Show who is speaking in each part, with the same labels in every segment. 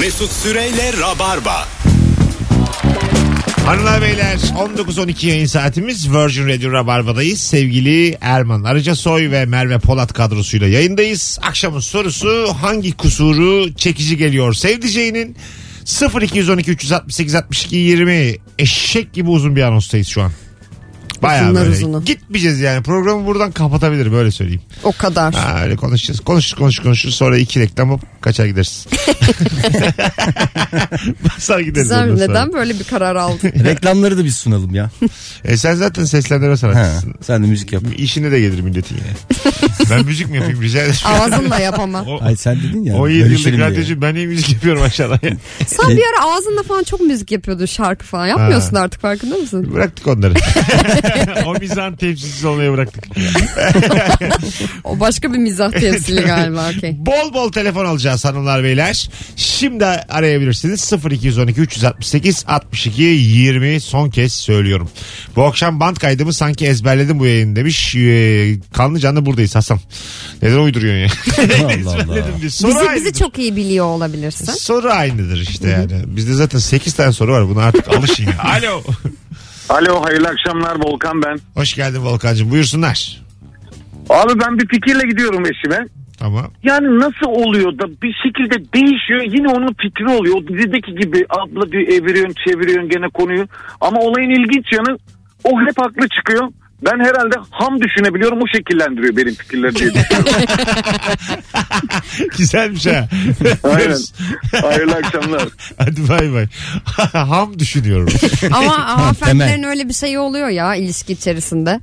Speaker 1: Mesut Süreyle Rabarba.
Speaker 2: Hanımlar beyler 19.12 yayın saatimiz Virgin Radio Rabarba'dayız. Sevgili Erman Arıcasoy ve Merve Polat kadrosuyla yayındayız. Akşamın sorusu hangi kusuru çekici geliyor sevdiceğinin? 0212 368 62 20 eşek gibi uzun bir anonstayız şu an. Bayağı
Speaker 3: Uzunlar
Speaker 2: böyle
Speaker 3: uzunu.
Speaker 2: gitmeyeceğiz yani programı buradan kapatabilir böyle söyleyeyim.
Speaker 3: O kadar.
Speaker 2: Ha, öyle konuşacağız. Konuşuruz konuşuruz konuşuruz sonra iki reklam hop kaçar gideriz. Basar gideriz.
Speaker 3: Güzel,
Speaker 2: ondan sonra.
Speaker 3: neden böyle bir karar aldın?
Speaker 4: Reklamları da biz sunalım ya.
Speaker 2: E sen zaten seslendirme
Speaker 4: Ha,
Speaker 2: sanatçısın.
Speaker 4: sen de müzik yap.
Speaker 2: İşine de gelir milletin yine. ben müzik mi yapayım rica ederim.
Speaker 3: Ağzınla yap ama.
Speaker 2: O,
Speaker 4: Ay sen dedin ya.
Speaker 2: o yedi yıllık
Speaker 4: bölüşelim diye.
Speaker 2: radyocu ben niye müzik yapıyorum aşağıya.
Speaker 3: Sen bir ara ağzınla falan çok müzik yapıyordun şarkı falan. Yapmıyorsun artık farkında mısın?
Speaker 2: bıraktık onları. o mizahın temsilcisi olmaya bıraktık.
Speaker 3: O başka bir mizah temsili galiba. okey.
Speaker 2: Bol bol telefon alacağız hanımlar beyler. Şimdi arayabilirsiniz 0212 368 62 20 son kez söylüyorum. Bu akşam band kaydımı sanki ezberledim bu yayın demiş. Ee, kanlı canlı buradayız Hasan. Neden uyduruyorsun ya?
Speaker 4: Allah Allah.
Speaker 2: Ezberledim diye. Soru
Speaker 3: Bizi, bizi
Speaker 2: aynıdır.
Speaker 3: çok iyi biliyor olabilirsin.
Speaker 2: Soru aynıdır işte yani. Bizde zaten 8 tane soru var. Buna artık alışın. ya. Alo.
Speaker 5: Alo hayırlı akşamlar Volkan ben.
Speaker 2: Hoş geldin Volkan'cığım. Buyursunlar.
Speaker 5: Abi ben bir fikirle gidiyorum eşime.
Speaker 2: Tamam.
Speaker 5: Yani nasıl oluyor da bir şekilde değişiyor yine onun fikri oluyor. O dizideki gibi abla bir eviriyorsun çeviriyorsun gene konuyu. Ama olayın ilginç yanı o hep haklı çıkıyor. Ben herhalde ham düşünebiliyorum o şekillendiriyor benim fikirleri diye.
Speaker 2: Güzelmiş ha.
Speaker 5: Aynen. Hayırlı akşamlar.
Speaker 2: Hadi bay bay. Ham düşünüyorum.
Speaker 3: Ama hanımefendilerin
Speaker 4: Temel.
Speaker 3: öyle bir şeyi oluyor ya ilişki içerisinde.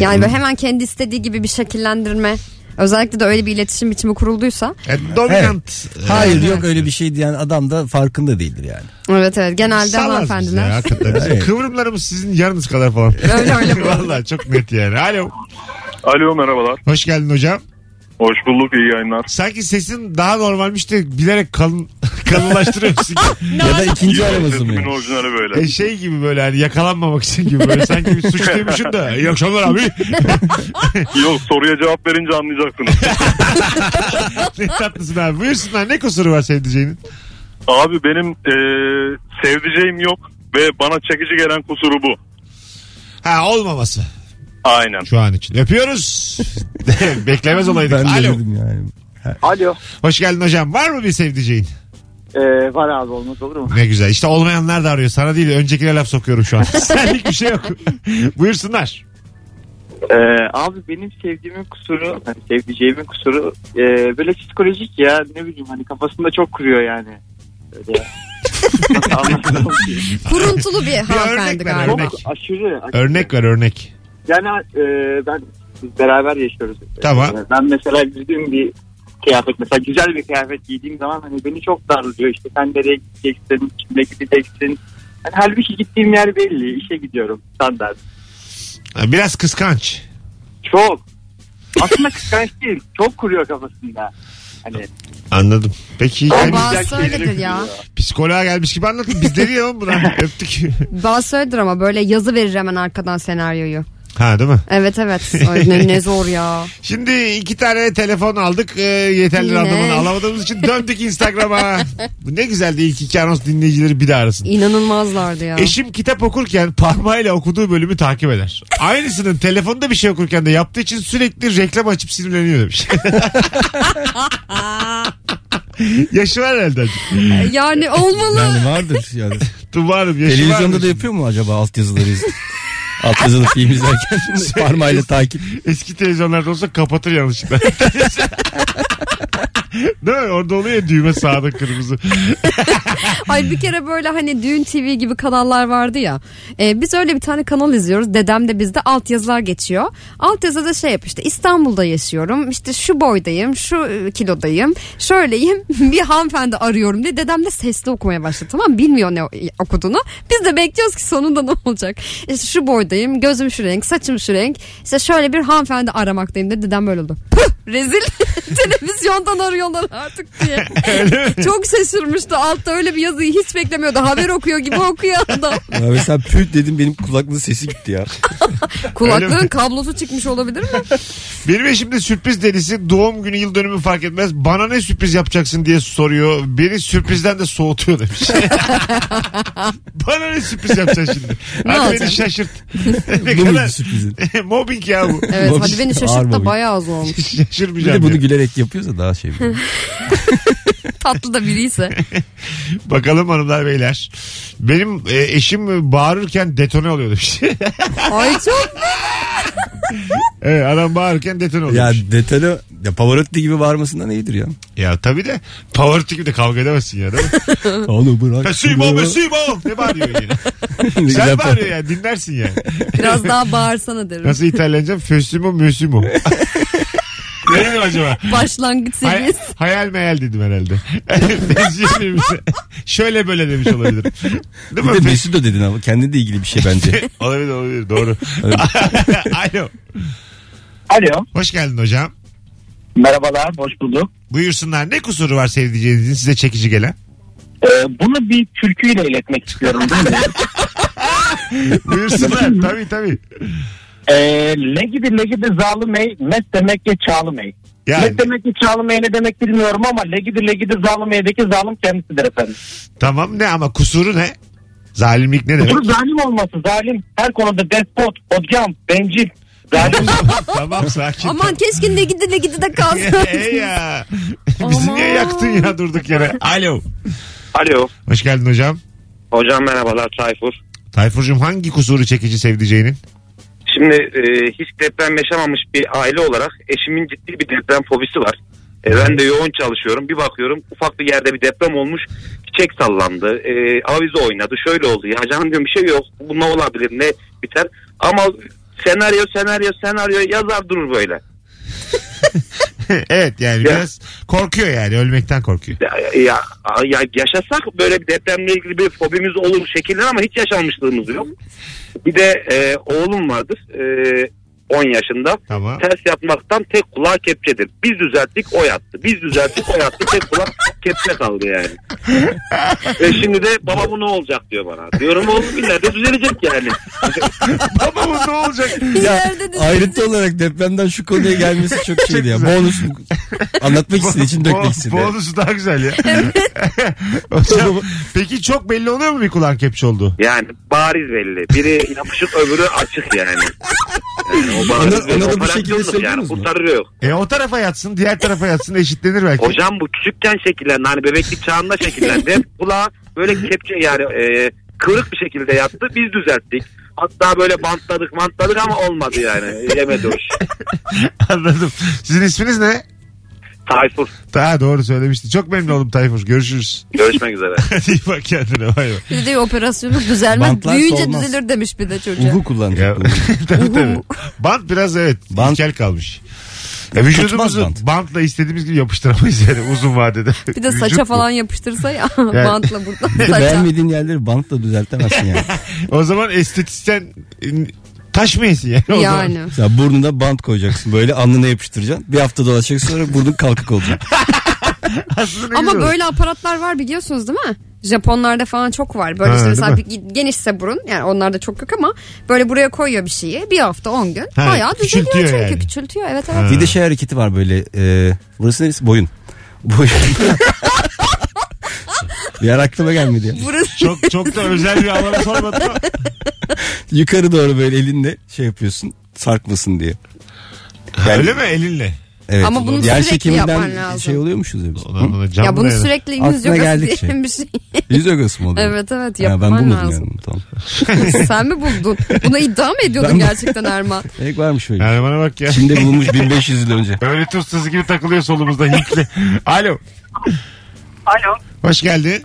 Speaker 3: Yani böyle hemen kendi istediği gibi bir şekillendirme. Özellikle de öyle bir iletişim biçimi kurulduysa.
Speaker 2: Yani
Speaker 4: Evet.
Speaker 2: dominant.
Speaker 4: Hayır yok öyle bir şey diyen adam da farkında değildir yani.
Speaker 3: Evet evet genelde
Speaker 2: Salaz biz ya,
Speaker 3: hanımefendiler.
Speaker 2: hakikaten. Bizim
Speaker 4: Evet.
Speaker 2: Kıvrımlarımız sizin yarınız kadar falan.
Speaker 3: Öyle öyle bu.
Speaker 2: Valla çok net yani. Alo.
Speaker 6: Alo merhabalar.
Speaker 2: Hoş geldin hocam.
Speaker 6: Hoş bulduk iyi yayınlar.
Speaker 2: Sanki sesin daha normalmiş de bilerek kalın, kalınlaştırıyorsun.
Speaker 4: ya da ikinci araması mı?
Speaker 6: Sesimin
Speaker 4: ya?
Speaker 6: orijinali böyle.
Speaker 2: E şey gibi böyle hani yakalanmamak için gibi böyle sanki bir suçluymuşum da. İyi akşamlar abi.
Speaker 6: Yok soruya cevap verince anlayacaksınız.
Speaker 2: ne tatlısın abi. Buyursunlar ne kusuru var sevdiceğinin?
Speaker 6: Abi benim e, sevdiceğim yok ve bana çekici gelen kusuru bu.
Speaker 2: Ha olmaması
Speaker 6: Aynen.
Speaker 2: şu an için. Öpüyoruz. Beklemez olaydık.
Speaker 4: Ben de
Speaker 2: Alo.
Speaker 4: dedim yani.
Speaker 7: Alo.
Speaker 2: Hoş geldin hocam. Var mı bir sevdiceğin?
Speaker 7: Ee, var abi olmaz olur mu?
Speaker 2: Ne güzel. İşte olmayanlar da arıyor. Sana değil öncekine laf sokuyorum şu an. Senlik bir şey yok. Buyursunlar.
Speaker 7: Ee, abi benim sevdiğimin kusuru, hani sevdiceğimin kusuru ee, böyle psikolojik ya ne bileyim hani kafasında çok kuruyor yani. Öyle. Nasıl anlatamam ki?
Speaker 3: Kuruntulu bir
Speaker 2: örnek
Speaker 3: hanımefendi
Speaker 2: ver,
Speaker 3: galiba.
Speaker 7: çok
Speaker 2: örnek.
Speaker 7: aşırı, aşırı.
Speaker 2: Örnek ver örnek.
Speaker 7: Yani ee, ben biz beraber yaşıyoruz.
Speaker 2: Tamam.
Speaker 7: Ee, ben mesela girdiğim bir kıyafet mesela güzel bir kıyafet giydiğim zaman hani beni çok darlıyor işte sen nereye gideceksin, kimle gideceksin. Yani halbuki gittiğim yer belli işe gidiyorum standart.
Speaker 2: Biraz kıskanç.
Speaker 7: Çok. Aslında kıskanç değil. Çok kuruyor kafasında. Hani
Speaker 2: Anladım. Peki yani
Speaker 3: Ama bazısı öyledir ya.
Speaker 2: psikoloğa gelmiş gibi anlatın. Biz deli ya oğlum buna. Öptük.
Speaker 3: Bazısı öyledir ama böyle yazı verir hemen arkadan senaryoyu.
Speaker 2: Ha değil mi?
Speaker 3: Evet evet. Ay, ne, ne zor ya.
Speaker 2: Şimdi iki tane telefon aldık. Ee, yeterli
Speaker 3: Yine.
Speaker 2: randımanı alamadığımız için döndük Instagram'a. Bu ne güzeldi ilk iki anons dinleyicileri bir daha arasın.
Speaker 3: İnanılmazlardı ya.
Speaker 2: Eşim kitap okurken parmağıyla okuduğu bölümü takip eder. Aynısının telefonda bir şey okurken de yaptığı için sürekli reklam açıp sinirleniyor demiş. Yaşı var herhalde. azıcık.
Speaker 3: Yani olmalı.
Speaker 4: Yani vardır. Yani.
Speaker 2: Tuba Hanım yaşı
Speaker 4: Televizyonda
Speaker 2: varmış.
Speaker 4: da yapıyor mu acaba altyazıları iz- Altyazılı film izlerken
Speaker 2: Şey-
Speaker 4: parmağıyla takip.
Speaker 2: Eski televizyonlarda olsa kapatır yanlışlıkla. Değil mi? Orada oluyor ya düğme sağda kırmızı.
Speaker 3: Ay bir kere böyle hani düğün TV gibi kanallar vardı ya. Ee, biz öyle bir tane kanal izliyoruz. Dedem de bizde altyazılar geçiyor. Altyazıda şey yap işte İstanbul'da yaşıyorum. İşte şu boydayım, şu e, kilodayım. Şöyleyim. Bir hanımefendi arıyorum diye dedem de sesli okumaya başladı. Tamam mı? bilmiyor ne e, okuduğunu. Biz de bekliyoruz ki sonunda ne olacak. İşte şu boydayım, gözüm şu renk, saçım şu renk. İşte şöyle bir hanımefendi aramaktayım dedi. Dedem böyle oldu. Puh, rezil. Televizyondan arıyorlar artık diye. Çok şaşırmıştı. Altta öyle bir yazıyı hiç beklemiyordu. Haber okuyor gibi okuyor adam.
Speaker 4: Ya mesela püt dedim benim kulaklığın sesi gitti ya.
Speaker 2: Öyle mi?
Speaker 3: Kulaklığın kablosu çıkmış olabilir mi?
Speaker 2: Benim eşim de sürpriz delisi doğum günü yıl dönümü fark etmez. Bana ne sürpriz yapacaksın diye soruyor. Beni sürprizden de soğutuyor demiş. Bana ne sürpriz yapacaksın şimdi.
Speaker 3: Ne
Speaker 2: Hadi beni
Speaker 3: olacak?
Speaker 2: şaşırt. ne
Speaker 4: Bu muydu
Speaker 2: kadar
Speaker 4: sürprizin?
Speaker 2: mobbing ya bu.
Speaker 3: Evet
Speaker 4: Mobbing.
Speaker 3: hadi beni
Speaker 4: Ağır
Speaker 3: şaşırt da
Speaker 4: mobbing.
Speaker 3: bayağı zormuş.
Speaker 4: Bir de
Speaker 2: Şaşırmayacağım.
Speaker 4: bunu
Speaker 2: ya.
Speaker 4: gülerek yapıyorsa daha şey. bu.
Speaker 3: Tatlı da biriyse.
Speaker 2: Bakalım hanımlar beyler. Benim e, eşim bağırırken detone oluyor demiş.
Speaker 3: Ay çok
Speaker 2: evet, adam bağırırken detone oluyor.
Speaker 4: ya
Speaker 2: demiş.
Speaker 4: detone ya Pavarotti gibi bağırmasından iyidir ya.
Speaker 2: Ya tabii de power gibi de kavga edemezsin ya değil mi?
Speaker 4: Onu bırak.
Speaker 2: Pesimo pesimo ne bağırıyor yine.
Speaker 4: Ne
Speaker 2: Sen
Speaker 4: güzel
Speaker 2: bağırıyor ya dinlersin yani.
Speaker 3: biraz daha bağırsana derim.
Speaker 2: Nasıl İtalyanca? Fösimo mösimo. ne dedim acaba?
Speaker 3: Başlangıç
Speaker 2: Hay-
Speaker 3: seviyesi.
Speaker 2: hayal meyal dedim herhalde. Benziyor birbirimize. Şöyle böyle demiş olabilirim. Değil mi?
Speaker 4: Bir de
Speaker 2: Fes-
Speaker 4: Mesut da dedin ama kendinle ilgili bir şey bence.
Speaker 2: olabilir olabilir doğru. Alo.
Speaker 7: Alo.
Speaker 2: Hoş geldin hocam.
Speaker 7: Merhabalar. Hoş bulduk.
Speaker 2: Buyursunlar ne kusuru var sevdiceğinizin size çekici gelen?
Speaker 7: Ee, bunu bir türküyle iletmek istiyorum. Değil mi?
Speaker 2: Buyursunlar tabii tabii.
Speaker 7: Ee, ne gibi ne gibi zalim ey, mes demek ki çağlım ey.
Speaker 2: Yani.
Speaker 7: Mes demek ki çağlım ey ne demek bilmiyorum ama ne gibi ne gibi zalim eydeki zalim kendisidir efendim.
Speaker 2: Tamam ne ama kusuru ne? Zalimlik ne demek?
Speaker 7: Bunun zalim olması zalim her konuda despot, odgam, bencil. Zalim
Speaker 2: tamam sakin.
Speaker 3: Aman keşke ne gidi ne gidi de kalsın.
Speaker 2: Ey ya. Bizi niye
Speaker 3: Aman.
Speaker 2: yaktın ya durduk yere? Alo.
Speaker 8: Alo.
Speaker 2: Hoş geldin hocam.
Speaker 8: Hocam merhabalar Tayfur.
Speaker 2: Tayfur'cum hangi kusuru çekici sevdiceğinin?
Speaker 8: Şimdi e, hiç deprem yaşamamış bir aile olarak eşimin ciddi bir deprem fobisi var. E, ben de yoğun çalışıyorum. Bir bakıyorum ufak bir yerde bir deprem olmuş. Çiçek sallandı. E, avize oynadı. Şöyle oldu. Ya canım diyorum bir şey yok. Bu ne olabilir? Ne biter? Ama senaryo senaryo senaryo yazar durur böyle.
Speaker 2: evet yani biraz korkuyor yani ölmekten korkuyor.
Speaker 8: Ya, ya, ya yaşasak böyle bir depremle ilgili bir fobimiz olur şekilde ama hiç yaşanmışlığımız yok. Bir de e, oğlum vardır. E, 10 yaşında.
Speaker 2: Tamam.
Speaker 8: Ters yapmaktan tek kulağı kepçedir. Biz düzelttik o yattı. Biz düzelttik o yattı. Tek kulak kepçe kaldı yani. Ve şimdi de baba bu ne olacak diyor bana. Diyorum oğlum ileride düzelecek yani.
Speaker 2: Baba bu ne olacak?
Speaker 4: ya,
Speaker 3: İleride de-
Speaker 4: ayrıntı olarak depremden şu konuya gelmesi çok şeydi ya. Bonus anlatmak istediği için
Speaker 2: Bo-
Speaker 4: dökmek istedi.
Speaker 2: Bonusu daha güzel ya. Hocam, peki çok belli oluyor mu bir kulağın kepçe oldu?
Speaker 8: Yani bariz belli. Biri yapışık öbürü açık yani. yani o bariz
Speaker 4: Ona- ona da bir
Speaker 8: Operasyondur
Speaker 4: şekilde
Speaker 8: yani.
Speaker 4: söylediniz mi?
Speaker 8: Kurtarıyor yok.
Speaker 2: E o tarafa yatsın diğer tarafa yatsın eşitlenir belki.
Speaker 8: Hocam bu küçükken şekillendi. Hani bebeklik çağında şekillendi. Hep Kulağa böyle kepçe yani e, kıvrık bir şekilde yattı. Biz düzelttik. Hatta böyle bantladık mantladık ama olmadı yani. Yemedi o iş.
Speaker 2: Anladım. Sizin isminiz ne?
Speaker 8: Tayfur.
Speaker 2: Daha doğru söylemişti. Çok memnun oldum Tayfur. Görüşürüz.
Speaker 8: Görüşmek üzere.
Speaker 2: Hadi iyi bak kendine. Bay bay.
Speaker 3: Bir de operasyonu düzelmez.
Speaker 4: Bantlarsa
Speaker 3: Büyüyünce
Speaker 4: olmaz.
Speaker 3: düzelir demiş bir de çocuğa.
Speaker 4: Uhu
Speaker 2: Ya,
Speaker 4: kullanacak. Uhu.
Speaker 2: tabii tabii. Bant biraz evet
Speaker 4: Bant-
Speaker 2: ilkel kalmış. Ya vücudumuzu
Speaker 4: Tutmaz bant.
Speaker 2: bantla istediğimiz gibi yapıştıramayız yani uzun vadede.
Speaker 3: Bir de
Speaker 2: Vücut
Speaker 3: saça
Speaker 2: bu.
Speaker 3: falan yapıştırsa ya
Speaker 2: Yani-
Speaker 3: bantla buradan saça.
Speaker 4: Beğenmediğin yerleri bantla düzeltemezsin yani.
Speaker 2: O zaman estetisyen e, taş mı yesin yani? o zaman?
Speaker 3: Yani.
Speaker 4: Mesela burnuna bant koyacaksın böyle alnına yapıştıracaksın. Bir hafta dolaşacaksın sonra burnun kalkık olacak.
Speaker 2: Aslında ne
Speaker 3: Ama
Speaker 2: güzel olur.
Speaker 3: böyle aparatlar var biliyorsunuz değil mi? Japonlarda falan çok var. Böyle
Speaker 2: Ha,
Speaker 3: işte mesela
Speaker 2: değil
Speaker 3: bir genişse burun yani onlarda çok yok ama böyle buraya koyuyor bir şeyi. Bir hafta 10 gün.
Speaker 2: Ha,
Speaker 3: bayağı düzeliyor
Speaker 2: küçültüyor
Speaker 3: çünkü
Speaker 2: yani.
Speaker 3: küçültüyor. Evet evet.
Speaker 4: bir de şey hareketi var böyle. E, burası neresi? Boyun. Boyun. bir yer aklıma gelmedi ya.
Speaker 3: Burası
Speaker 2: Çok çok da özel bir alana sormadım ama.
Speaker 4: Yukarı doğru böyle elinle şey yapıyorsun sarkmasın diye. Yani-
Speaker 2: Öyle mi elinle?
Speaker 4: Evet.
Speaker 3: Ama bunu
Speaker 4: Yer
Speaker 3: sürekli
Speaker 4: çekiminden
Speaker 3: yapan lazım.
Speaker 4: Şey oluyormuşuz ya biz.
Speaker 2: Ona,
Speaker 4: Hı?
Speaker 2: ona cam
Speaker 3: ya bunu
Speaker 2: dayanır.
Speaker 3: sürekli
Speaker 4: Aklına
Speaker 3: yüz yogası
Speaker 4: geldikçe.
Speaker 3: diye bir şey.
Speaker 4: Yüz yogası mı oluyor?
Speaker 3: Evet evet
Speaker 4: Ha, ben
Speaker 3: yapman
Speaker 4: bulmadım
Speaker 3: lazım.
Speaker 4: yani. Tamam.
Speaker 3: Sen mi buldun? Buna iddia mı ediyordun
Speaker 4: Ben-
Speaker 3: gerçekten Erman?
Speaker 4: Gerek varmış öyle.
Speaker 2: Yani bana bak ya.
Speaker 4: Çin'de bulunmuş 1500 yıl önce.
Speaker 2: Öyle tursuz gibi takılıyor solumuzda Hintli. Alo.
Speaker 9: Alo.
Speaker 2: Hoş geldin.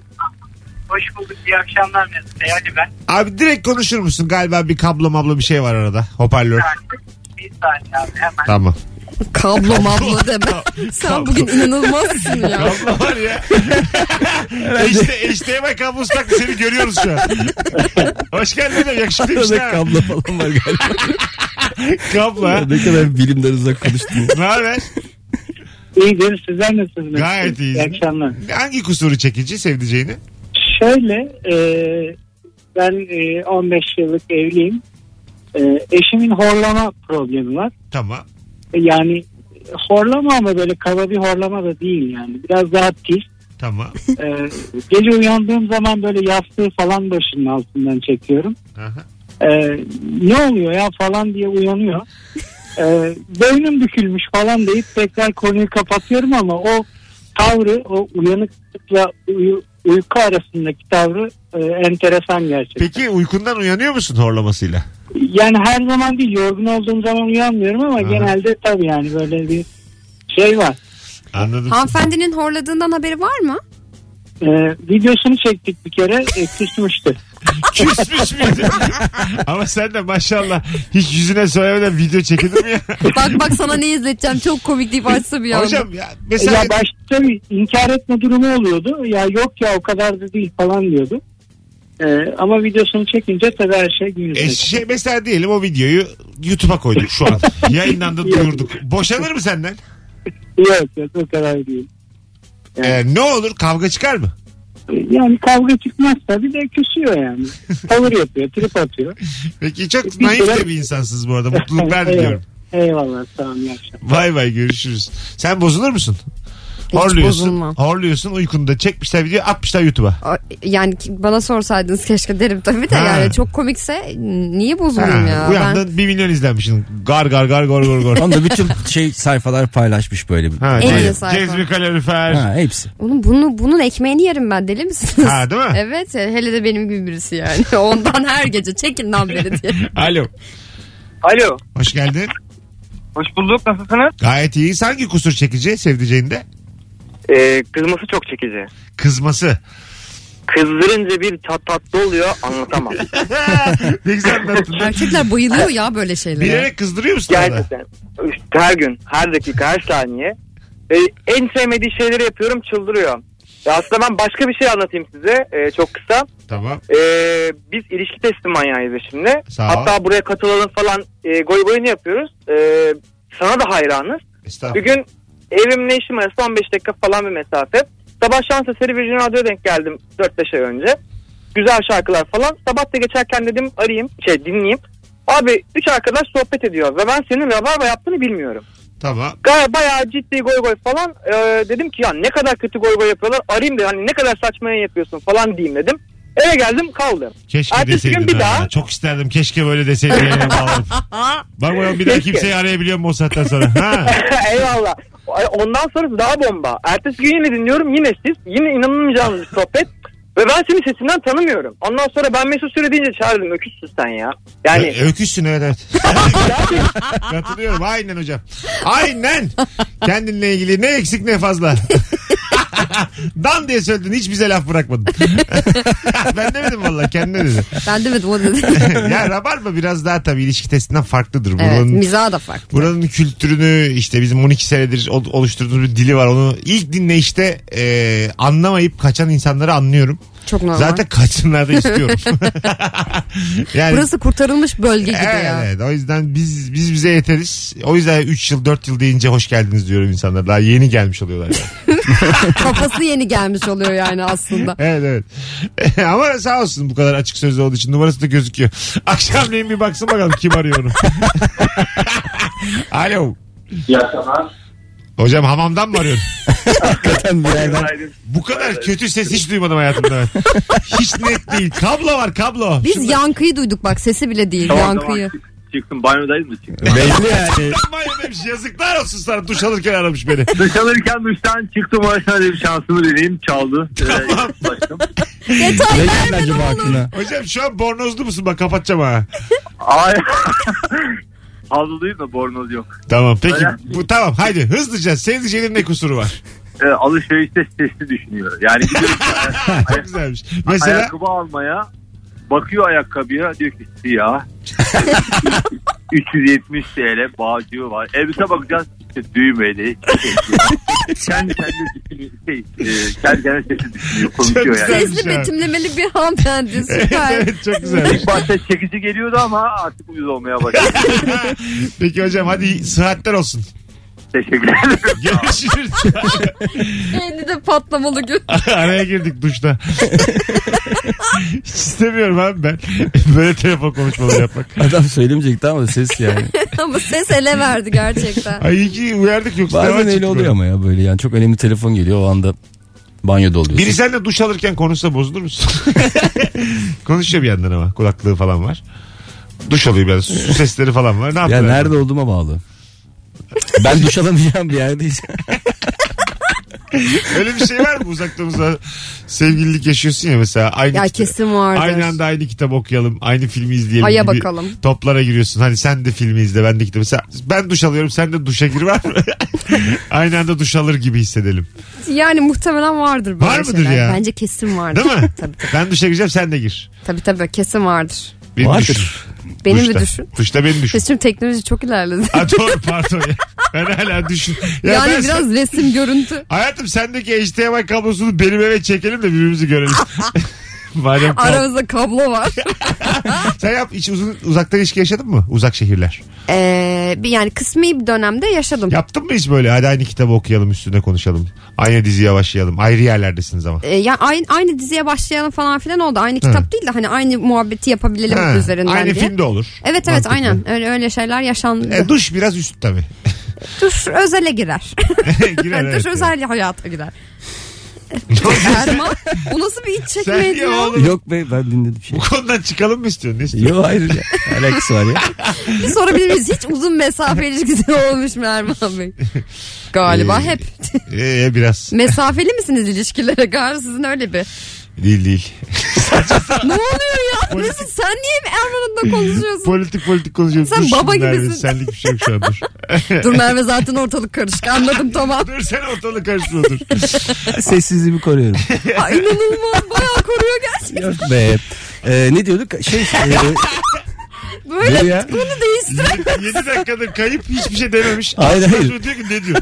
Speaker 9: Hoş bulduk. İyi akşamlar Mesut Bey. Ali ben.
Speaker 2: Abi direkt konuşur musun? Galiba bir kablo mablo bir şey var arada. Hoparlör.
Speaker 9: Bir saniye abi hemen.
Speaker 2: Tamam.
Speaker 3: Kablo mablo deme. Sen bugün inanılmazsın ya.
Speaker 2: Kablo var ya. işte HDMI kablosu taktı seni görüyoruz şu an. Hoş geldin hocam yakışıklıymış
Speaker 4: Arada
Speaker 2: ha.
Speaker 4: kablo falan var galiba.
Speaker 2: Kablo ha.
Speaker 4: ne kadar bilimden uzak konuştun.
Speaker 2: Ne haber?
Speaker 9: İyidir. Sizler nasılsınız?
Speaker 2: Gayet iyiyiz.
Speaker 9: İyi akşamlar.
Speaker 2: Hangi kusuru çekici sevdiceğini?
Speaker 9: Şöyle e, ben e, 15 yıllık evliyim. E, eşimin horlama problemi var.
Speaker 2: Tamam.
Speaker 9: E, Yani horlama ama böyle kaba bir horlama da değil yani. Biraz daha pis.
Speaker 2: Tamam.
Speaker 9: E, gece uyandığım zaman böyle yastığı falan başının altından çekiyorum.
Speaker 2: Aha.
Speaker 9: E, ne oluyor ya falan diye uyanıyor. E, beynim bükülmüş falan deyip tekrar konuyu kapatıyorum ama o tavrı o uyanıklıkla uyu, uyku arasındaki tavrı e, enteresan gerçekten.
Speaker 2: Peki uykundan uyanıyor musun horlamasıyla?
Speaker 9: Yani her zaman değil yorgun olduğum zaman uyanmıyorum ama genelde tabii yani böyle bir şey var.
Speaker 2: Anladım.
Speaker 3: Hanımefendinin horladığından haberi var mı?
Speaker 9: Ee, videosunu çektik bir kere e, küsmüştü.
Speaker 2: Küsmüş müydün? Ama sen de maşallah hiç yüzüne söylemeden video çekilir mi ya?
Speaker 3: Bak bak sana ne izleteceğim çok komik deyip açsa bir anda.
Speaker 2: Hocam ya
Speaker 9: Ya
Speaker 2: mesela
Speaker 9: başta bir inkar etme durumu oluyordu. Ya yok ya o kadar da değil falan diyordu. Ee, ama videosunu çekince tabii her şey gün
Speaker 2: E,
Speaker 9: yüzüne
Speaker 2: şey, mesela diyelim o videoyu YouTube'a koyduk şu an. Yayınlandı duyurduk. Boşanır mı senden?
Speaker 9: çıktı. Yok yok o kadar değil.
Speaker 2: E, ne olur kavga çıkar mı?
Speaker 9: Ee, Yani kavga çıkmaz tabii de küsüyor yani. Tavır yapıyor, trip atıyor.
Speaker 2: Peki çok
Speaker 9: Bir
Speaker 2: naif
Speaker 3: şey-
Speaker 9: kere-
Speaker 2: de bir insansınız bu arada. Mutluluklar diliyorum.
Speaker 9: Eyvallah sağ olun iyi akşamlar.
Speaker 2: Vay vay görüşürüz. Sen bozulur musun?
Speaker 3: Hiç
Speaker 2: Horluyorsun,
Speaker 3: bozulmam.
Speaker 2: horluyorsun uykunda çekmişler video atmışlar YouTube'a.
Speaker 3: A- Yani ki- bana sorsaydınız keşke derim tabii de
Speaker 2: Ha.
Speaker 3: yani çok komikse niye bozulayım
Speaker 2: Ha,
Speaker 3: ya? Ben...
Speaker 2: Uyandın bir milyon izlenmişsin. Gar gar gar gor gor gor.
Speaker 4: Tam da bütün şey sayfalar paylaşmış böyle bir.
Speaker 2: Ha,
Speaker 3: En iyi
Speaker 2: cez-
Speaker 3: sayfa.
Speaker 2: Cezmi kalorifer. Ha.
Speaker 4: Ha, hepsi.
Speaker 3: Oğlum bunu, bunun ekmeğini yerim ben deli misiniz?
Speaker 2: değil mi?
Speaker 3: Evet e, hele de benim gibi birisi yani. Ondan her gece çekin lan beni diye.
Speaker 2: Alo.
Speaker 10: Alo.
Speaker 2: Hoş geldin.
Speaker 10: Hoş bulduk. Nasılsınız?
Speaker 2: Gayet iyi. Hangi kusur çekici sevdiceğinde?
Speaker 10: Ee, kızması çok çekici.
Speaker 2: Kızması.
Speaker 10: Kızdırınca bir tat tatlı oluyor anlatamam.
Speaker 2: ne güzel anlattın.
Speaker 3: Erkekler bayılıyor ya böyle şeylere.
Speaker 2: Bilerek kızdırıyor musun? orada?
Speaker 10: Gerçekten. Her gün, her dakika, her saniye. Ee, en sevmediği şeyleri yapıyorum çıldırıyor. Ya aslında ben başka bir şey anlatayım size ee, çok kısa.
Speaker 2: Tamam.
Speaker 10: Ee, biz ilişki testi manyağıyız şimdi.
Speaker 2: Sağ ol.
Speaker 10: Hatta buraya katılalım falan e, goy goyunu yapıyoruz. Ee, sana da hayranız. Bir
Speaker 2: Estağfurullah.
Speaker 10: gün evimle işim arası 15 dakika falan bir mesafe. Sabah şans eseri Virgin Radyo'ya denk geldim 4-5 ay önce. Güzel şarkılar falan. Sabah da geçerken dedim arayayım, şey dinleyeyim. Abi üç arkadaş sohbet ediyor ve ben senin rabarba yaptığını bilmiyorum.
Speaker 2: Tamam.
Speaker 10: Gaya bayağı ciddi goy goy falan. Ee, dedim ki ya ne kadar kötü goy goy yapıyorlar arayayım da hani ne kadar saçmaya yapıyorsun falan diyeyim dedim. Eve geldim kaldım.
Speaker 2: Keşke
Speaker 10: Ertesi
Speaker 2: deseydin.
Speaker 10: gün bir
Speaker 2: ha.
Speaker 10: daha.
Speaker 2: Çok isterdim. Keşke böyle deseydin. yayına bağlanıp. Bak bakalım bir daha
Speaker 10: Keşke.
Speaker 2: kimseyi arayabiliyor mu o saatten sonra? Ha.
Speaker 10: Eyvallah. Ondan sonrası daha bomba. Ertesi gün yine dinliyorum yine siz. Yine inanılmayacağınız bir sohbet. Ve ben seni sesinden tanımıyorum. Ondan sonra ben Mesut Süre deyince çağırdım. Öküzsün sen ya. Yani
Speaker 2: Ö- E, Öküzsün evet evet. Katılıyorum. Aynen hocam. Aynen. Kendinle ilgili ne eksik ne fazla. Dan diye söyledin. Hiç bize laf bırakmadın. ben demedim valla. Kendine dedi.
Speaker 3: Ben demedim o dedi.
Speaker 2: ya rabarba biraz daha tabii ilişki testinden farklıdır.
Speaker 3: evet
Speaker 2: Buranın-
Speaker 3: mizah da farklı.
Speaker 2: Buranın kültürünü işte bizim 12 senedir ol- oluşturduğumuz bir dili var. Onu ilk dinleyişte e, anlamayıp kaçan insanları anlıyorum.
Speaker 3: Çok normal.
Speaker 2: Zaten kaçsınlar da istiyorum. yani
Speaker 3: Burası kurtarılmış bölge gibi
Speaker 2: evet,
Speaker 3: ya.
Speaker 2: evet. O yüzden biz biz bize yeteriz. O yüzden 3 yıl 4 yıl deyince hoş geldiniz diyorum insanlar. Daha yeni gelmiş oluyorlar. yani.
Speaker 3: Kafası yeni gelmiş oluyor yani aslında.
Speaker 2: evet evet. Ama sağ olsun bu kadar açık sözlü olduğu için numarası da gözüküyor. Akşamleyin bir baksın bakalım kim arıyor onu. Alo.
Speaker 9: İyi akşamlar.
Speaker 2: Hocam hamamdan mı arıyorsun?
Speaker 4: Zaten bir yerden
Speaker 2: Bu kadar kötü ses hiç duymadım hayatımda ben. Hiç net değil. Kablo var kablo.
Speaker 3: Biz
Speaker 2: Şunları-
Speaker 3: yankıyı duyduk bak sesi bile değil yankıyı.
Speaker 8: Çıktım banyodayız mı çıktım?
Speaker 4: belli yani.
Speaker 2: Yapmayın demiş. Yazıklar olsun sana. Duş alırken aramış beni.
Speaker 8: Duş alırken duştan çıktım başına dedim şansımı deneyim çaldı. Ee, ulaştım.
Speaker 4: Ne geldi acaba aklına?
Speaker 2: Hocam şu an bornozlu musun? Bak kapatacağım ha.
Speaker 8: Ay. Havluluyum da bornoz yok.
Speaker 2: Tamam peki.
Speaker 8: Öyle.
Speaker 2: Bu, tamam haydi hızlıca. Sevdiceğinin ne kusuru var?
Speaker 8: Ee, alışverişte sesli düşünüyor. Yani gidiyor
Speaker 2: Çok güzelmiş. Mesela
Speaker 8: ayakkabı almaya bakıyor ayakkabıya diyor ki siyah. 370 TL bağcığı var. Elbise bakacağız işte düğmeli. kendi kendine düşünüyor. Şey, e, kendi kendine sesi düşünüyor. Konuşuyor
Speaker 2: Çok
Speaker 8: yani.
Speaker 2: güzel.
Speaker 3: Sesli betimlemeli bir hanımefendi
Speaker 2: Evet,
Speaker 3: süper.
Speaker 2: evet, çok güzelmiş.
Speaker 8: İlk başta çekici geliyordu ama artık uyuz olmaya başladı.
Speaker 2: Peki hocam hadi sıhhatler olsun.
Speaker 7: Teşekkür ederim.
Speaker 2: Görüşürüz.
Speaker 3: Kendi de patlamalı gün.
Speaker 2: Araya girdik duşta. Hiç istemiyorum abi ben. Böyle telefon konuşmaları yapmak.
Speaker 4: Adam söylemeyecekti ama ses yani.
Speaker 3: Ama ses ele verdi gerçekten.
Speaker 2: Ay iyi ki uyardık yoksa. devam
Speaker 4: Bazen
Speaker 2: edecek
Speaker 4: öyle oluyor
Speaker 2: program.
Speaker 4: ama ya böyle yani çok önemli telefon geliyor o anda banyoda oluyorsun.
Speaker 2: Biri seninle duş alırken konuşsa bozulur musun? Konuşuyor bir yandan ama. Kulaklığı falan var. Duş alıyor biraz. Su sesleri falan var. Ne
Speaker 4: Ya
Speaker 2: yapıyor?
Speaker 4: nerede olduğuma bağlı. Ben duş alamayacağım bir yerdeysem.
Speaker 2: Öyle bir şey var mı uzaklığımızda? Sevgililik yaşıyorsun ya mesela. Aynı
Speaker 3: Ya
Speaker 2: kitap-
Speaker 3: kesin vardır.
Speaker 2: Aynı anda aynı kitap okuyalım. Aynı filmi izleyelim.
Speaker 3: Aya
Speaker 2: gibi
Speaker 3: bakalım.
Speaker 2: Toplara giriyorsun. Hani sen de filmi izle ben de kitabı. Sen, ben duş alıyorum sen de duşa gir var mı? aynı anda duş alır gibi hissedelim.
Speaker 3: Yani muhtemelen vardır böyle
Speaker 2: Var mıdır
Speaker 3: şeyler.
Speaker 2: ya?
Speaker 3: Bence kesin vardır.
Speaker 2: Değil mi?
Speaker 3: tabii, tabii,
Speaker 2: ben duşa gireceğim sen de gir.
Speaker 3: tabii tabii kesin vardır.
Speaker 2: Beni
Speaker 4: Vardır.
Speaker 2: düşün.
Speaker 3: Benim
Speaker 2: duşta.
Speaker 3: bir düşün.
Speaker 2: Duşta beni düşün.
Speaker 3: Biz şimdi teknoloji çok ilerledi.
Speaker 2: Ha doğru pardon ya. Ben hala düşün. Ya
Speaker 3: yani
Speaker 2: ben-
Speaker 3: biraz resim görüntü.
Speaker 2: Hayatım sendeki HDMI kablosunu benim eve çekelim de birbirimizi görelim. Madem kab-
Speaker 3: Aramızda kablo var.
Speaker 2: Sen yap hiç uzun, uzaktan ilişki yaşadın mı? Uzak şehirler.
Speaker 3: Ee, bir yani kısmi bir dönemde yaşadım.
Speaker 2: Yaptın mı hiç böyle? Hadi aynı kitabı okuyalım üstüne konuşalım. Aynı diziye başlayalım. Ayrı yerlerdesiniz ama.
Speaker 3: Ee, yani aynı, aynı diziye başlayalım falan filan oldu. Aynı kitap değil de hani aynı muhabbeti yapabilelim
Speaker 2: Ha,
Speaker 3: üzerinden
Speaker 2: aynı
Speaker 3: diye.
Speaker 2: film de olur.
Speaker 3: Evet evet
Speaker 2: Mantıklı.
Speaker 3: aynen öyle öyle şeyler yaşandı.
Speaker 2: E, duş biraz üst tabii.
Speaker 3: Duş özele girer.
Speaker 2: Girer,
Speaker 3: Duş
Speaker 2: evet.
Speaker 3: özel hayata girer.
Speaker 2: Ne oldu?
Speaker 3: Erman bu nasıl bir iç
Speaker 2: Sen
Speaker 3: çekmeydi
Speaker 2: ya
Speaker 3: ya?
Speaker 2: oğlum.
Speaker 4: Yok be ben dinledim şey.
Speaker 2: Bu konudan çıkalım mı istiyorsun? Ne istiyorsun?
Speaker 4: Yok hayır ya. Alakası var ya.
Speaker 3: Bir sorabilir miyiz? Hiç uzun mesafe ilişkisi olmuş mu Erman Bey? Galiba
Speaker 2: Ee,
Speaker 3: hep.
Speaker 2: Ee, biraz.
Speaker 3: Mesafeli misiniz ilişkilere? Galiba sizin öyle bir.
Speaker 2: Değil değil.
Speaker 3: ne oluyor ya?
Speaker 2: Politik-
Speaker 3: Mesut sen niye hep Erman'ınla konuşuyorsun?
Speaker 2: politik politik konuşuyoruz.
Speaker 3: Sen
Speaker 2: Dur
Speaker 3: baba
Speaker 2: şimdi Merve,
Speaker 3: gibisin.
Speaker 2: Senlik bir şey yok şu an dur.
Speaker 3: Dur Merve zaten ortalık karışık anladım tamam.
Speaker 2: dur sen ortalık karıştırma dur.
Speaker 4: Sessizliğimi koruyorum.
Speaker 3: Ay inanılmaz bayağı koruyor gerçekten.
Speaker 4: Yok be. Ee, ne diyorduk? Şey e,
Speaker 3: Böyle
Speaker 4: Ne ya?
Speaker 3: konu değiştiren
Speaker 2: 7 dakikadır kayıp hiçbir şey dememiş.
Speaker 4: Hayır,
Speaker 2: Aslı
Speaker 4: hayır.
Speaker 2: Aslı diyor ki ne diyor?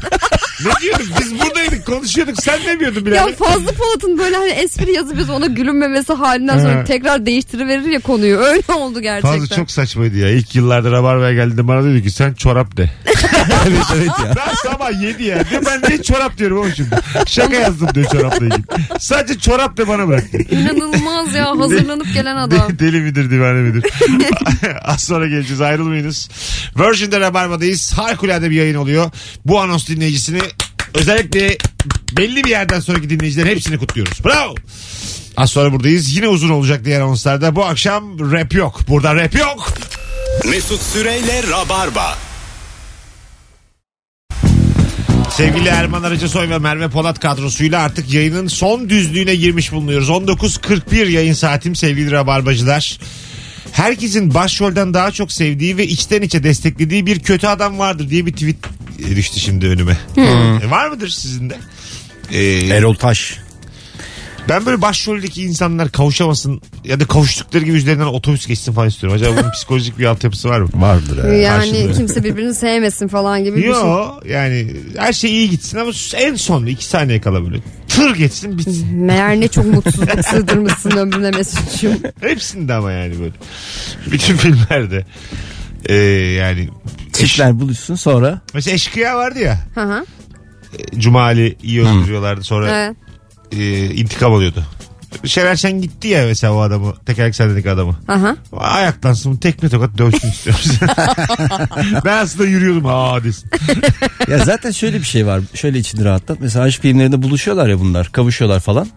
Speaker 2: ne diyorduk? Biz buradaydık konuşuyorduk. Sen demiyordun bile.
Speaker 3: ya fazla Polat'ın böyle hani espri yazıp biz ona gülünmemesi halinden
Speaker 2: Ha.
Speaker 3: sonra tekrar değiştiriverir ya konuyu. Öyle oldu gerçekten.
Speaker 2: Fazla çok saçmaydı ya. İlk yıllarda Rabarba'ya geldiğinde bana dedi ki sen çorap de.
Speaker 4: evet evet ya.
Speaker 2: Ben sabah 7 ya. Diyor, ben niye çorap diyorum oğlum şimdi. Şaka yazdım diyor çorapla ilgili. Sadece çorap de bana bırak.
Speaker 3: İnanılmaz ya hazırlanıp gelen adam.
Speaker 2: Deli, deli midir divane midir? Az sonra geleceğiz ayrılmayınız. Virgin'de Rabarba'dayız. Harikulade bir yayın oluyor. Bu anons dinleyicisini özellikle belli bir yerden sonraki dinleyicilerin hepsini kutluyoruz. Bravo. Az sonra buradayız. Yine uzun olacak diğer anonslarda. Bu akşam rap yok. Burada rap yok.
Speaker 1: Mesut Süreyle Rabarba.
Speaker 2: Sevgili Erman Arıcısoy ve Merve Polat kadrosuyla artık yayının son düzlüğüne girmiş bulunuyoruz. 19.41 yayın saatim sevgili Rabarbacılar. Herkesin başrolden daha çok sevdiği ve içten içe desteklediği bir kötü adam vardır diye bir tweet e, düştü şimdi önüme. E, var mıdır sizin de? E,
Speaker 4: Erol Taş.
Speaker 2: ben böyle başroldeki insanlar kavuşamasın ya da kavuştukları gibi üzerinden otobüs geçsin falan istiyorum. Acaba bunun psikolojik bir altyapısı var mı?
Speaker 4: Vardır ha.
Speaker 3: Yani
Speaker 2: karşılığı.
Speaker 3: kimse birbirini sevmesin falan gibi bir şey.
Speaker 2: Yo yani her şey iyi gitsin ama en son iki saniye kala böyle tır geçsin bitsin.
Speaker 3: Meğer ne çok mutsuzluk sığdırmışsın ömrüne Mesut'cum.
Speaker 2: Hepsinde ama yani böyle. Bütün filmlerde. Ee, yani
Speaker 4: Çiftler buluşsun sonra.
Speaker 2: mesela Eşkıya vardı ya.
Speaker 3: Hı hı.
Speaker 2: Cuma Ali iyi öldürüyorlardı. Sonra
Speaker 3: Evet.
Speaker 2: e, intikam alıyordu. Şener Şen gitti ya mesela o adamı. Tekerlek sendeki adamı.
Speaker 3: Hı hı.
Speaker 2: Ayaklansın tekme tokat dövsün istiyoruz. ben aslında yürüyordum aa desin.
Speaker 4: Ya zaten şöyle bir şey var. Şöyle içini rahatlat. Mesela aşk filmlerinde buluşuyorlar ya bunlar. Kavuşuyorlar falan.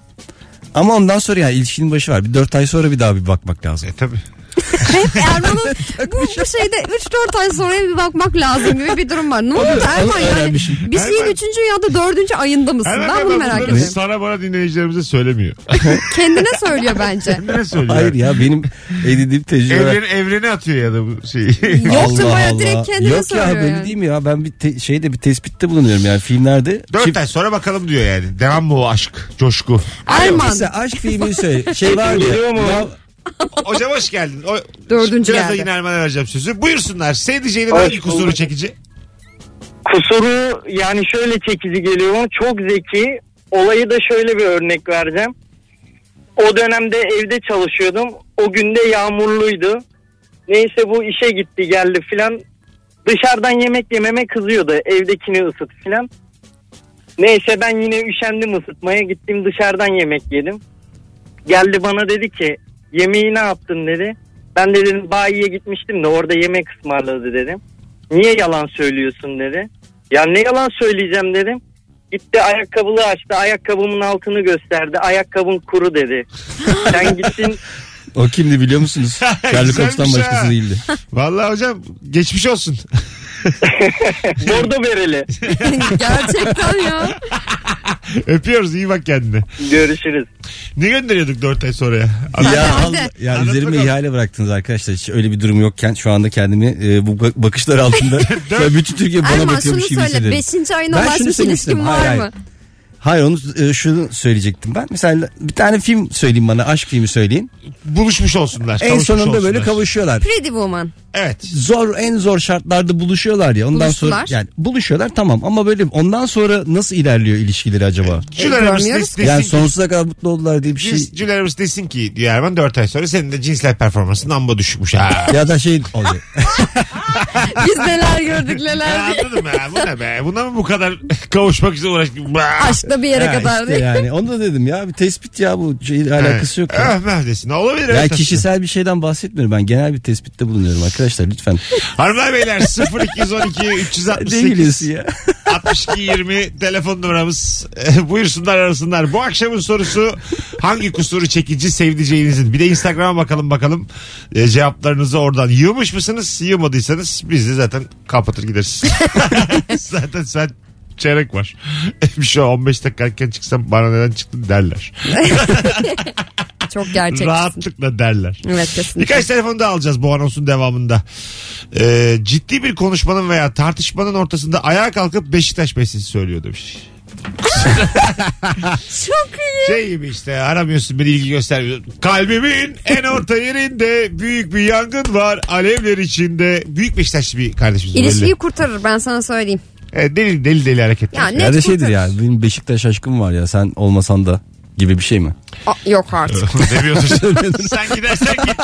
Speaker 4: Ama ondan sonra yani ilişkinin başı var. Bir dört ay sonra bir daha bir bakmak lazım.
Speaker 2: E tabi.
Speaker 3: Erman'ın bu, bu şeyde 3-4 ay sonraya bir bakmak lazım gibi bir durum var. Ne oldu Erman yani?
Speaker 4: öğrenmişim.
Speaker 3: Bir şeyin
Speaker 2: Erman-
Speaker 3: 3. ya da 4. ayında mısın?
Speaker 2: Hemen
Speaker 3: ben bunu merak
Speaker 2: bunları
Speaker 3: ediyorum.
Speaker 2: sana bana dinleyicilerimize söylemiyor.
Speaker 3: Kendine söylüyor bence.
Speaker 2: Kendine söylüyor.
Speaker 4: Hayır ya benim edindiğim tecrübe.
Speaker 2: Evreni, evreni atıyor ya da bu şey. şeyi.
Speaker 3: Yok canım bayağı direkt kendine
Speaker 4: Yok
Speaker 3: söylüyor.
Speaker 4: ya böyle
Speaker 3: yani.
Speaker 4: değil mi ya ben bir te- şeyde bir tespitte bulunuyorum yani filmlerde.
Speaker 2: Dört
Speaker 4: Çift-
Speaker 2: ay sonra bakalım diyor yani. Devam mı o aşk, coşku?
Speaker 3: Erman
Speaker 4: Mesela aşk filmi söyle. Şey var ya. ya
Speaker 2: Hocam hoş geldin. O,
Speaker 3: Dördüncü
Speaker 2: Biraz da
Speaker 3: geldi.
Speaker 2: yine Erman'a vereceğim sözü. Buyursunlar. Sevdiceğinin
Speaker 7: Hoş
Speaker 2: hangi kusuru
Speaker 7: bulduk.
Speaker 2: çekici?
Speaker 7: Kusuru yani şöyle çekici geliyor. bana. Çok zeki. Olayı da şöyle bir örnek vereceğim. O dönemde evde çalışıyordum. O günde yağmurluydu. Neyse bu işe gitti geldi filan.
Speaker 10: Dışarıdan yemek yememe kızıyordu. Evdekini ısıt filan. Neyse ben yine üşendim ısıtmaya. Gittim dışarıdan yemek yedim. Geldi bana dedi ki yemeği ne yaptın dedi. Ben de dedim bayiye gitmiştim de orada yemek ısmarladı dedim. Niye yalan söylüyorsun dedi. Ya ne yalan söyleyeceğim dedim. Gitti ayakkabılığı açtı. Ayakkabımın altını gösterdi. Ayakkabın kuru dedi. Sen gittin
Speaker 4: O kimdi biliyor musunuz? Charlie Cox'tan
Speaker 3: şey
Speaker 2: Güzelmiş ha.
Speaker 4: başkası değildi.
Speaker 2: Vallahi hocam geçmiş olsun.
Speaker 10: bordo vereli.
Speaker 3: Gerçekten ya.
Speaker 2: Öpüyoruz iyi bak kendine.
Speaker 10: Görüşürüz.
Speaker 2: Ne gönderiyorduk 4 ay sonra ya?
Speaker 4: ya
Speaker 3: Hadi.
Speaker 4: al- ya
Speaker 2: Anlat
Speaker 4: üzerime
Speaker 2: bakalım.
Speaker 4: ihale bıraktınız arkadaşlar. Hiç öyle bir durum yokken şu anda kendimi e, bu bak- bakışlar altında ya bütün Türkiye bana
Speaker 3: Erman şunu
Speaker 4: bakıyormuş gibi
Speaker 3: söyle.
Speaker 4: hissediyorum.
Speaker 3: Beşinci ayına
Speaker 4: Ben şunu
Speaker 3: ulaşmış
Speaker 4: söylemek
Speaker 3: ilişkin
Speaker 4: istedim.
Speaker 3: var
Speaker 4: Hayır,
Speaker 3: mı?
Speaker 4: Hayır onu e, şunu söyleyecektim ben. Mesela bir tane film söyleyin bana. Aşk filmi söyleyin.
Speaker 2: Buluşmuş olsunlar.
Speaker 4: En
Speaker 2: kavuşmuş
Speaker 4: sonunda böyle E,
Speaker 2: olsunlar.
Speaker 4: kavuşuyorlar.
Speaker 3: Pretty Woman.
Speaker 2: Evet.
Speaker 4: Zor en zor şartlarda buluşuyorlar ya. Ondan
Speaker 3: Buluştular.
Speaker 4: sonra yani buluşuyorlar tamam ama böyle ondan sonra nasıl ilerliyor ilişkileri acaba?
Speaker 2: Jül aramız
Speaker 3: görmüyoruz
Speaker 2: desin,
Speaker 4: yani
Speaker 2: ki-
Speaker 4: sonsuza kadar mutlu oldular diye bir şey.
Speaker 2: Cins, Jül aramız desin ki diyor Erman 4 ay sonra senin de cinsel performansın amba düşükmüş. Ha.
Speaker 4: ya da şey oluyor.
Speaker 3: Biz neler gördük
Speaker 2: Ya
Speaker 3: neler diye.
Speaker 2: anladım ya. Bu ne be? Buna mı bu kadar kavuşmak için uğraştık? Bah!
Speaker 3: Aşkta bir yere
Speaker 4: Ya
Speaker 3: kadar
Speaker 4: işte
Speaker 3: diye.
Speaker 4: yani onu da dedim ya bir tespit ya bu şey alakası yok. Ya.
Speaker 2: Ah neredesin? Olabilir.
Speaker 4: Ya
Speaker 2: evet,
Speaker 4: kişisel bir şeyden bahsetmiyorum ben genel bir tespitte bulunuyorum arkadaşlar lütfen.
Speaker 2: aslında. Hanımlar beyler 0212
Speaker 4: Değiliz
Speaker 2: 368
Speaker 4: ya.
Speaker 2: 62 20 telefon numaramız. Eh, Buyursunlar arasınlar. Bu akşamın sorusu hangi kusuru çekici sevdiceğinizin? Bir de Instagram'a bakalım bakalım eh, cevaplarınızı oradan. Yığmış mısınız? Yığmadıysanız biz de zaten kapatır gideriz. zaten sen çeyrek var. Bir şey 15 dakika erken çıksam bana neden çıktın derler.
Speaker 3: Çok gerçekçisin.
Speaker 2: Rahatlıkla derler.
Speaker 3: Evet kesinlikle.
Speaker 2: Birkaç telefonu da alacağız bu anonsun devamında. Ee, ciddi bir konuşmanın veya tartışmanın ortasında ayağa kalkıp Beşiktaş besisi söylüyor demiş.
Speaker 3: Çok iyi.
Speaker 2: Şey gibi işte aramıyorsun beni ilgi göstermiyor. Kalbimin en orta yerinde büyük bir yangın var. Alevler içinde. Büyük Beşiktaşlı bir kardeşimiz. var,
Speaker 3: İlişkiyi
Speaker 2: belli.
Speaker 3: kurtarır ben sana söyleyeyim.
Speaker 2: Evet, deli deli deli hareketler.
Speaker 3: Ya
Speaker 2: Yani.
Speaker 3: net
Speaker 4: ya da şeydir
Speaker 3: kurtarır.
Speaker 4: ya benim Beşiktaş aşkım var ya sen olmasan da gibi bir şey mi?
Speaker 3: Aa, yok artık.
Speaker 2: Sen gidersen git.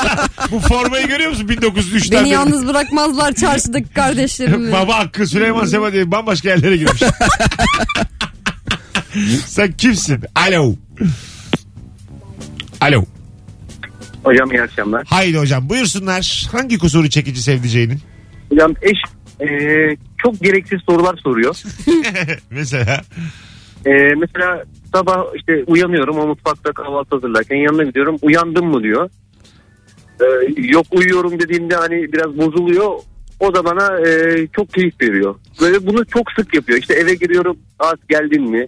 Speaker 2: Bu formayı görüyor musun 1903'ten
Speaker 3: Beni
Speaker 2: beri?
Speaker 3: yalnız bırakmazlar çarşıdaki kardeşlerimi.
Speaker 2: Baba Hakkı Süleyman Seba diye bambaşka yerlere girmiş. Sen kimsin? Alo. Alo.
Speaker 7: Hocam iyi akşamlar.
Speaker 2: Haydi hocam buyursunlar. Hangi kusuru çekici sevdiceğinin?
Speaker 7: Hocam eş e, çok gereksiz sorular soruyor.
Speaker 2: Mesela.
Speaker 7: E, mesela sabah işte uyanıyorum o mutfakta kahvaltı hazırlarken yanına gidiyorum uyandın mı diyor. E, yok uyuyorum dediğimde hani biraz bozuluyor. O da bana e, çok keyif veriyor. Böyle bunu çok sık yapıyor. İşte eve giriyorum saat geldin mi?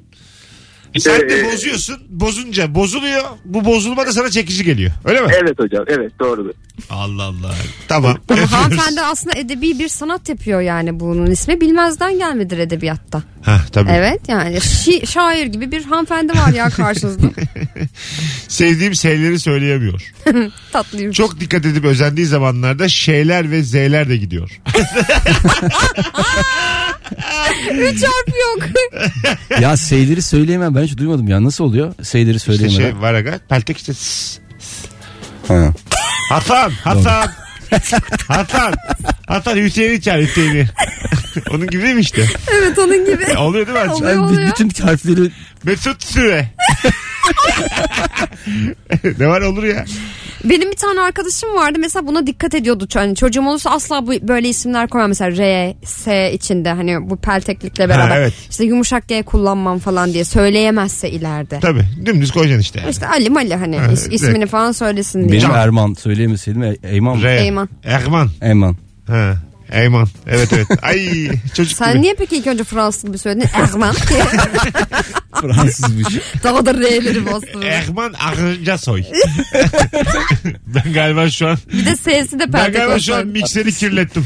Speaker 7: İşte,
Speaker 2: Sen de
Speaker 7: e,
Speaker 2: bozuyorsun. Bozunca bozuluyor. Bu bozulma da sana çekici geliyor. Öyle mi?
Speaker 7: Evet hocam evet doğrudur.
Speaker 2: Allah Allah. Tamam.
Speaker 3: Ama hanımefendi aslında edebi bir sanat yapıyor yani bunun ismi. Bilmezden gelmedir edebiyatta.
Speaker 2: Ha, tabii.
Speaker 3: Evet yani şi- şair gibi bir hanımefendi var ya karşınızda.
Speaker 2: Sevdiğim şeyleri söyleyemiyor.
Speaker 3: Tatlıyım.
Speaker 2: Çok dikkat edip özendiği zamanlarda şeyler ve z'ler de gidiyor.
Speaker 3: Üç harf yok.
Speaker 4: ya seyleri söyleyemem ben hiç duymadım ya nasıl oluyor seyleri
Speaker 2: İşte
Speaker 4: söyleyemem.
Speaker 2: şey var aga. Peltek işte. "Sss,
Speaker 4: Ha.
Speaker 2: Hasan, Hasan. Hasan. Hasan Hüseyin'i çağır Hüseyin'i. Onun gibi değil mi işte?
Speaker 3: evet onun gibi.
Speaker 2: Oluyor değil mi Ercan?
Speaker 3: Ne
Speaker 4: Ben b-
Speaker 3: oluyor?
Speaker 4: bütün harfleri
Speaker 2: Mesut Süre. ne var olur ya.
Speaker 3: Benim bir tane arkadaşım vardı mesela buna dikkat ediyordu. Yani çocuğum olursa asla bu böyle isimler koymam. Mesela R, S içinde hani bu pelteklikle beraber.
Speaker 2: evet.
Speaker 3: İşte yumuşak G kullanmam falan diye söyleyemezse ileride.
Speaker 2: Tabii dümdüz koyacaksın işte. yani.
Speaker 3: İşte Ali Mali hani
Speaker 2: Ha,
Speaker 3: is-
Speaker 2: direkt.
Speaker 3: ismini falan söylesin diye.
Speaker 4: benim Erman söyleyemeseydim E- Eyman mı?
Speaker 2: R.
Speaker 3: Eyman.
Speaker 2: Erman.
Speaker 4: Eyman.
Speaker 2: Ha. Eyman. Evet evet. Ay çocuk
Speaker 3: Sen
Speaker 2: gibi.
Speaker 3: niye peki ilk önce Fransız gibi söyledin? Erman.
Speaker 4: Fransız bir şey.
Speaker 3: Daha da R'leri bastın.
Speaker 2: Erman Arınca soy. ben galiba şu an
Speaker 3: Bir de S'si de
Speaker 2: ben
Speaker 3: peltek
Speaker 2: galiba şu an
Speaker 3: olsun.
Speaker 2: mikseri kirlettim.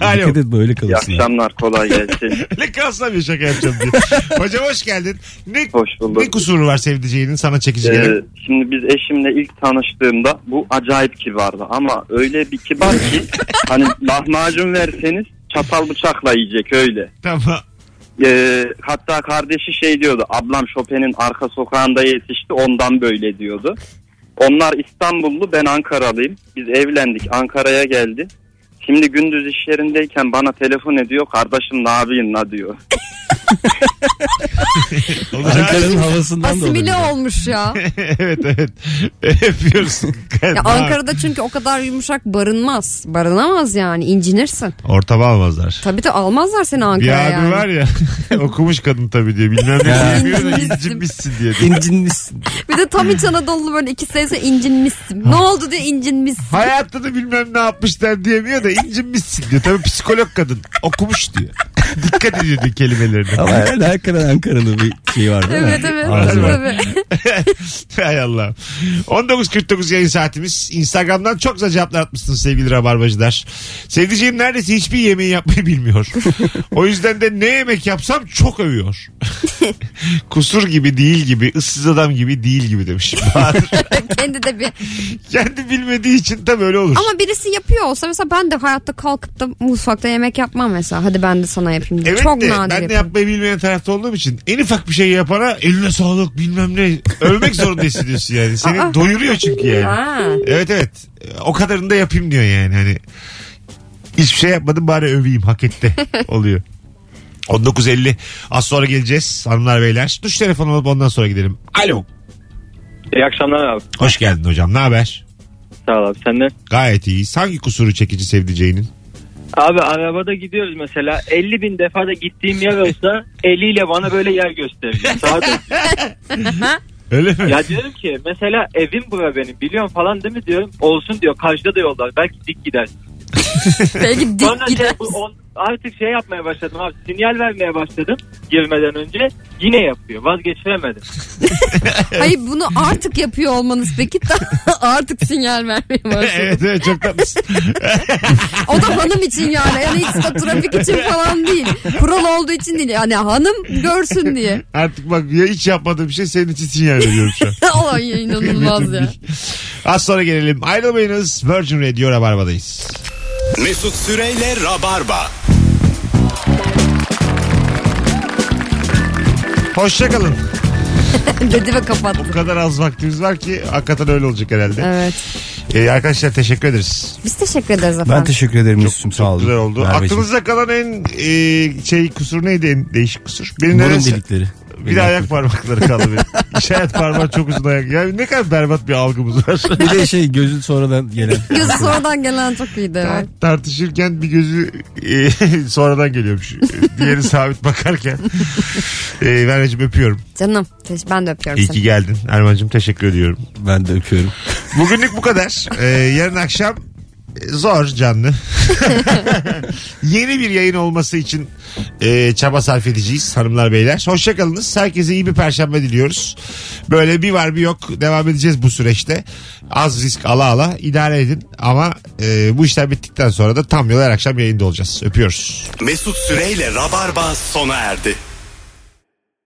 Speaker 2: Alo.
Speaker 4: Dikkat et böyle kalırsın. ya.
Speaker 10: akşamlar kolay gelsin.
Speaker 2: Ne kalsam bir şaka yapacağım diye. Hocam hoş geldin. Ne,
Speaker 10: Hoş bulduk.
Speaker 2: ne kusuru var sevdiceğinin sana çekici
Speaker 10: Ee,
Speaker 2: gelen?
Speaker 10: şimdi biz eşimle ilk tanıştığımda bu acayip kibardı ama öyle bir kibar ki hani lahmacun verseniz çatal bıçakla yiyecek öyle.
Speaker 2: Tamam.
Speaker 10: Ee, hatta kardeşi şey diyordu ablam Chopin'in arka sokağında yetişti ondan böyle diyordu. Onlar İstanbullu ben Ankaralıyım. Biz evlendik Ankara'ya geldi.
Speaker 7: Şimdi gündüz iş yerindeyken bana telefon ediyor. Kardeşim ne yapayım la diyor.
Speaker 4: Ankara'nın havasından da
Speaker 3: Asimile
Speaker 4: olabilir.
Speaker 3: olmuş ya.
Speaker 2: evet evet. Öpüyoruz.
Speaker 3: ya Ankara'da çünkü o kadar yumuşak barınmaz. Barınamaz yani incinirsin.
Speaker 2: Ortama almazlar.
Speaker 3: Tabii de almazlar seni
Speaker 2: Bir
Speaker 3: Ankara'ya
Speaker 2: abi
Speaker 3: yani.
Speaker 2: var ya okumuş kadın tabii diye bilmem ne
Speaker 4: Ya.
Speaker 2: diyor da
Speaker 3: İncinmişsin.
Speaker 2: incinmişsin diye.
Speaker 4: İncinmişsin.
Speaker 3: Bir de tam iç Anadolu böyle iki sayısı incinmişsin. Ne oldu diye incinmişsin.
Speaker 2: Hayatını bilmem ne yapmışlar diyemiyor da incinmişsin diyor. Tabii psikolog kadın okumuş diyor. Dikkat ediyor diyor kelimelerine.
Speaker 4: Ama herhalde hakikaten Ankaralı bir şey var değil mi?
Speaker 3: Evet evet.
Speaker 4: Ağzı var.
Speaker 3: Tabii.
Speaker 2: Hay Allah. 19.49 yayın saatimiz. Instagram'dan çok güzel cevaplar atmışsınız sevgili rabarbacılar. Sevdiceğim neredeyse hiçbir yemeği yapmayı bilmiyor. o yüzden de ne yemek yapsam çok övüyor. Kusur gibi değil gibi, ıssız adam gibi değil gibi demiş. Bahadır.
Speaker 3: Kendi de bir.
Speaker 2: Kendi bilmediği için de böyle olur.
Speaker 3: Ama birisi yapıyor olsa mesela ben de hayatta kalkıp da mutfakta yemek yapmam mesela. Hadi ben de sana yapayım diye.
Speaker 2: Evet
Speaker 3: Çok
Speaker 2: de
Speaker 3: nadir
Speaker 2: ben de
Speaker 3: yaparım.
Speaker 2: yapmayı bilmeyen tarafta olduğum için en ufak bir şey yapana eline sağlık bilmem ne ölmek zorunda hissediyorsun yani. Seni
Speaker 3: Aa.
Speaker 2: doyuruyor çünkü yani.
Speaker 3: Ha.
Speaker 2: Evet evet. O kadarını da yapayım diyor yani. Hani hiçbir şey yapmadım bari öveyim hak etti oluyor. 19.50 az sonra geleceğiz hanımlar beyler. Duş telefonu alıp ondan sonra gidelim. Alo.
Speaker 7: İyi akşamlar abi.
Speaker 2: Hoş geldin hocam ne haber?
Speaker 7: Sağ ol abi senden.
Speaker 2: Gayet iyi. Hangi kusuru çekici sevdiceğinin?
Speaker 7: Abi arabada gidiyoruz mesela 50 bin defa da gittiğim yer olsa eliyle bana böyle yer gösteriyor. Sağa dön.
Speaker 2: Öyle mi?
Speaker 7: ya diyorum ki mesela evim bura benim biliyorum falan değil mi diyorum. Olsun diyor karşıda da yollar belki dik gider.
Speaker 3: Belki
Speaker 7: Sonra
Speaker 3: dik
Speaker 7: şey,
Speaker 3: gider.
Speaker 7: bu on- artık şey yapmaya başladım abi sinyal vermeye başladım girmeden önce yine yapıyor vazgeçiremedim.
Speaker 3: Hayır bunu artık yapıyor olmanız peki daha artık sinyal vermeye başladı.
Speaker 2: evet evet çok tatlısın.
Speaker 3: O da hanım için yani. Yani hiç de trafik için falan değil. Kural olduğu için değil. Yani hanım görsün diye.
Speaker 2: Artık bak ya hiç yapmadığım şey senin için sinyal veriyorum şu an.
Speaker 3: Olan ya inanılmaz ya.
Speaker 2: Az sonra gelelim. Ayrılmayınız. Virgin Radio Rabarba'dayız.
Speaker 1: Mesut Süreyle Rabarba.
Speaker 2: Hoşçakalın.
Speaker 3: Dedi ve kapattı.
Speaker 2: Bu kadar az vaktimiz var ki hakikaten öyle olacak herhalde.
Speaker 3: Evet.
Speaker 2: Ee, arkadaşlar teşekkür ederiz.
Speaker 3: Biz teşekkür ederiz efendim.
Speaker 4: Ben teşekkür ederim Yusuf'um sağ olun.
Speaker 2: Güzel oldu.
Speaker 4: Merveciğim.
Speaker 2: Aklınızda kalan en e, şey kusur neydi en değişik kusur? Benim
Speaker 4: Burun
Speaker 2: nedense-
Speaker 4: delikleri.
Speaker 2: Bir de ayak parmakları kaldı benim. İşaret parmağı çok uzun ayak. Yani ne kadar berbat bir algımız var.
Speaker 4: Bir de şey gözün sonradan gelen.
Speaker 3: Gözü sonradan gelen çok iyiydi. evet.
Speaker 2: Tartışırken bir gözü e, sonradan geliyormuş. Diğeri sabit bakarken. E, Merveciğim öpüyorum.
Speaker 3: Canım teş- ben de öpüyorum
Speaker 2: İyi ki
Speaker 3: seni.
Speaker 2: geldin. Erman'cığım teşekkür ediyorum.
Speaker 4: Ben de öpüyorum.
Speaker 2: Bugünlük bu kadar. Ee, yarın akşam e, zor canlı. Yeni bir yayın olması için e, çaba sarf edeceğiz hanımlar beyler. Hoşçakalınız. Herkese iyi bir perşembe diliyoruz. Böyle bir var bir yok devam edeceğiz bu süreçte. Az risk ala ala idare edin. Ama e, bu işler bittikten sonra da tam yol her akşam yayında olacağız. Öpüyoruz.
Speaker 1: Mesut Süreyle Rabarba sona erdi.